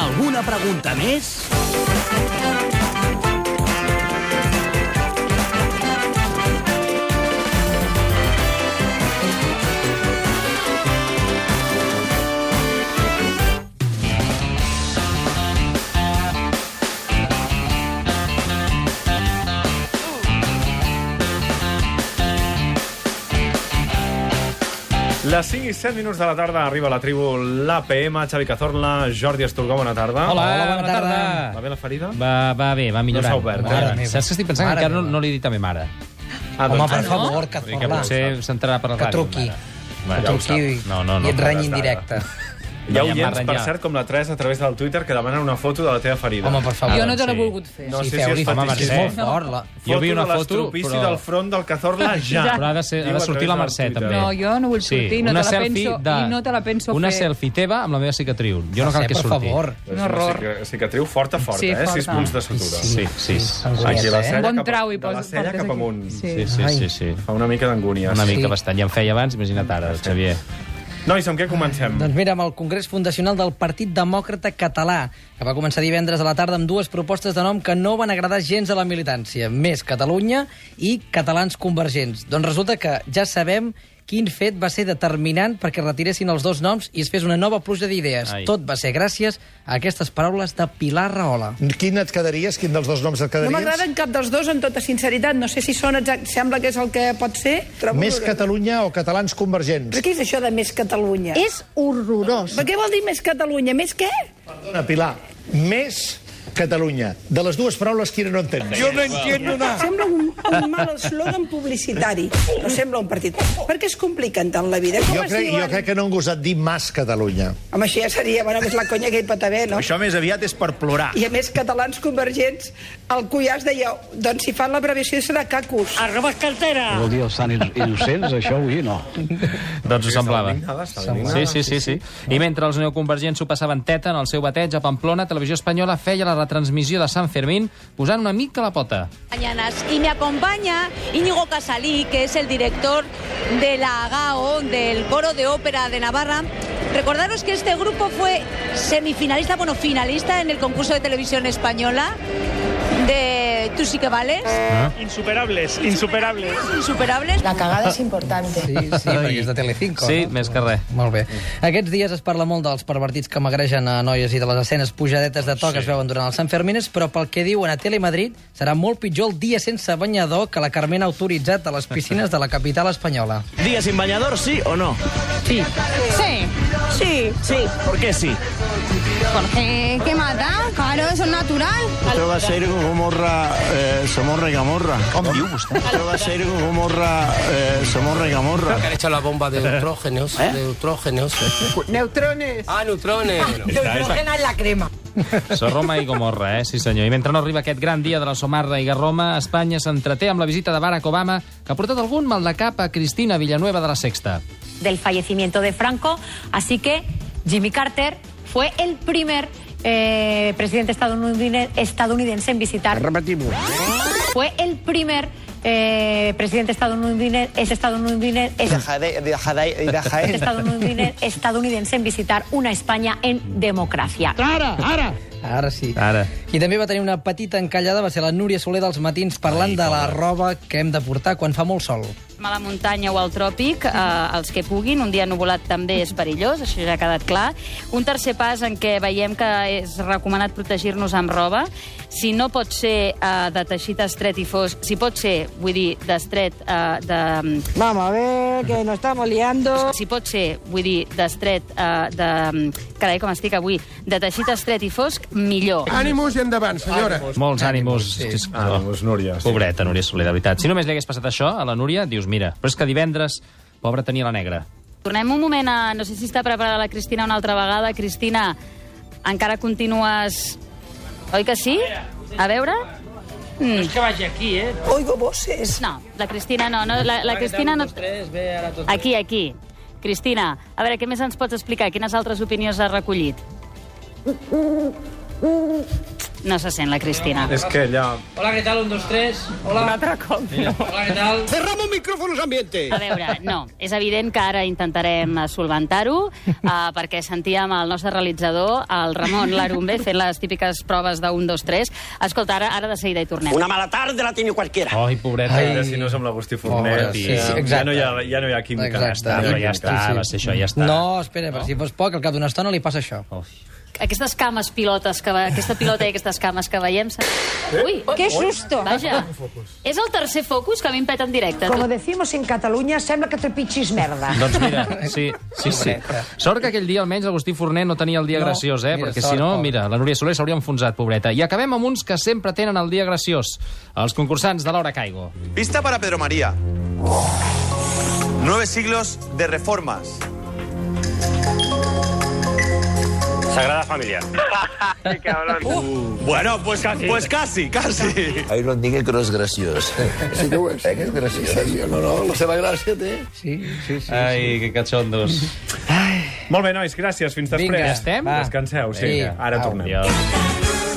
Alguna pregunta més? Les 5 i 7 minuts de la tarda arriba la tribu l'APM, Xavi Cazorla, Jordi Esturgó, bona tarda. Hola, Hola, bona bona tarda. tarda. Va bé la ferida? Va, va bé, va millorant. No s'ha obert, eh? Va millorant. Mare meva. Saps que estic pensant Mare que encara no, meva. no li he dit a ma mare. Ah, Home, doncs, per ah, favor, que Vull dir que forla. potser s'entrarà per la Que ràdio. truqui. ma mare. Que Bueno, ja ho truqui sap. No, no, no. i et renyi en ara. directe. Hi ha Ja em va oients, per renyar. cert, com la Teresa, a través del Twitter, que demanen una foto de la teva ferida. Home, per favor. Jo no te l'he sí. volgut fer. No, Ah, doncs sí, sí, sí, feu-li, és home, fetichista. Mercè. És molt fort, la... Jo vi una foto, l'estropici però- del front del Cazorla ja. Però ha de, ser, ha Diu de a través sortir la del Mercè, Twitter. Doncs també. No, jo no vull Sí, sortir, no una te la selfie penso, de, i no te la penso una fer. selfie teva amb la meva cicatriu. Jo no cal que per surti. favor. Un horror. Cic- Cicatriu forta, forta, Sí, eh? forta. 6 punts de sutura. Sí, sí. Em Sí, guanyes, Aquí la eh? cella Bon cap a- trau i de la poses- cella portes cap aquí. amunt. sí, Sí. sí. sí, sí. Fa una mica d'angúnia. Una sí. mica bastant. Ja en feia abans, imagina't ara, Xavier. Nois, amb què comencem? Doncs mira, amb el Congrés Fundacional del Partit Demòcrata Català, que va començar divendres a la tarda amb dues propostes de nom que no van agradar gens a la militància, Més Catalunya i Catalans Convergents. Doncs resulta que ja sabem quin fet va ser determinant perquè retiressin els dos noms i es fes una nova pluja d'idees. Ai. Tot va ser gràcies a aquestes paraules de Pilar Rahola. Quin et quedaries? Quin dels dos noms et No quedaries? m'agraden cap dels dos, en tota sinceritat. No sé si són exactes, sembla que és el que pot ser. Trobo Més horrorós. Catalunya o Catalans Convergents? Però què és això de més Catalunya? És horrorós. Però què vol dir més Catalunya? Més què? Perdona, Pilar. Més Catalunya. De les dues paraules, quina no entens? Jo... Ah. Sembla un, un mal eslògan publicitari. No sembla un partit. Per què es compliquen tant la vida? Com Jo es crec, diuen? jo crec que no han gosat dir Mas Catalunya. Home, això ja seria, bueno, que és la conya que hi pot haver, no? Això més aviat és per plorar. I a més, catalans convergents, el Cuyàs deia, doncs si fan l'abreviació serà cacus. Vol dir els tan innocents, això avui no. Doncs ho semblava. indignada, estava Sí, indignada, sí, sí, sí. I mentre els neoconvergents s'ho passaven teta en el seu bateig a Pamplona, Televisió Espanyola feia la retransmissió de Sant Fermín posant una mica la pota. Mañanas. Y me acompaña Íñigo Casalí, que es el director de la AGAO, del Coro de Ópera de Navarra. Recordaros que este grupo fue semifinalista, bueno, finalista en el concurso de televisión española de Tú sí que vales, Insuperables, insuperables. insuperables. La cagada és important. Sí, sí, perquè és de Telecinco. Sí, no? més que res. Molt bé. Aquests dies es parla molt dels pervertits que magregen a noies i de les escenes pujadetes de to que es veuen durant els Sant Fermines, però pel que diuen a Telemadrid serà molt pitjor el dia sense banyador que la Carmen ha autoritzat a les piscines de la capital espanyola. Día sin bañador, sí o no? Sí. Sí. Sí. Sí. ¿Por qué sí? Porque que mata, claro, eso es natural. Això va ser Gomorra, eh, Somorra i Gamorra. Com diu vostè? Això va ser Gomorra, eh, Somorra i Gamorra. Que han hecho la bomba de neutrógenos. De neutrógenos. Neutrones. Ah, neutrones. Sorroma i Gomorra, eh? Sí, senyor. I mentre no arriba aquest gran dia de la Somarra i Garroma, Espanya s'entreté amb la visita de Barack Obama, que ha portat algun mal de cap a Cristina Villanueva de la Sexta. Del fallecimiento de Franco, así que Jimmy Carter fue el primer eh, presidente estadounidine- estadounidense en visitar Repetim-ho. Fue el primer eh, presidente estadounidense, es estadounidense, es estadounidense, estadounidense en visitar una España en democracia. Ara sí. Ara. Qui també va tenir una petita encallada va ser la Núria Soler dels matins parlant Ai, de la roba que hem de portar quan fa molt sol. A la muntanya o al tròpic, eh, els que puguin, un dia nuvolat també és perillós, això ja ha quedat clar. Un tercer pas en què veiem que és recomanat protegir-nos amb roba. Si no pot ser eh, de teixit estret i fosc, si pot ser, vull dir, d'estret, eh, de, Vamos a ver, que nos estamos liando. si pot ser, vull dir, d'estret, eh, de... Carai, com estic avui, de teixit estret i fosc, millor. Ànimus i endavant, senyora. Molts ànimos. Sí. Ah, doncs, Núria. sí. Pobreta, Núria Soler, de veritat. Si només li hagués passat això a la Núria, dius, mira, però és que divendres, pobra, tenia la negra. Tornem un moment a... No sé si està preparada la Cristina una altra vegada. Cristina, encara continues... Oi que sí? A veure? Mm. Oigo voces. No, la Cristina no. no la, la Cristina no... Aquí, aquí. Cristina, a veure, què més ens pots explicar? Quines altres opinions has recollit? No se sent la Cristina. És que allà... Hola, què tal? Un, dos, tres. Hola. Un altre cop. Hola, què tal? Cerramos micrófonos ambiente. A veure, no, és evident que ara intentarem eh, solventar-ho, eh, perquè sentíem el nostre realitzador, el Ramon Larumbe, fent les típiques proves de 1, 2, 3. Escolta, ara, ara de seguida hi tornem. Una mala tarde la tiene cualquiera. Ai, pobreta. Ai. Eh, si no és amb l'Agustí Fornet. Pobre, sí, i, eh, sí, exacte. ja, no hi ha, ja no hi ha química. Exacte. Ah, però ja Sí, està, sí. va ser això, ja està. No, espera, per si fos poc, al cap d'una estona li passa això. Uf. Aquestes cames pilotes, que ve... aquesta pilota i aquestes cames que veiem... Se... Ui, ¡Qué susto! vaja, és el tercer focus que a mi em peta en directe. Como decimos en Cataluña, sembla que trepitgis merda. Doncs mira, sí, sí, sí. Sort que aquell dia almenys l'Agustí Forner no tenia el dia No, graciós, eh? mira, Perquè sort, si no, pobre. mira, la Núria Soler s'hauria enfonsat, pobreta. I acabem amb uns que sempre tenen el dia graciós. Els concursants de l'Hora Caigo. Pista para Pedro María. Nueve siglos de reformas. Sagrada Familia. Uh, Bueno, pues, pues casi, casi. Ahí no digué que no és graciós. Sí que ho és. Eh, que és graciós. No, no, la seva gràcia té. Sí, sí, sí. Ai, que catxondos. Molt bé, nois, gràcies. Fins després. Vinga, estem? va. Descanseu, sí. Vinga. Ara Au. tornem. Adéu.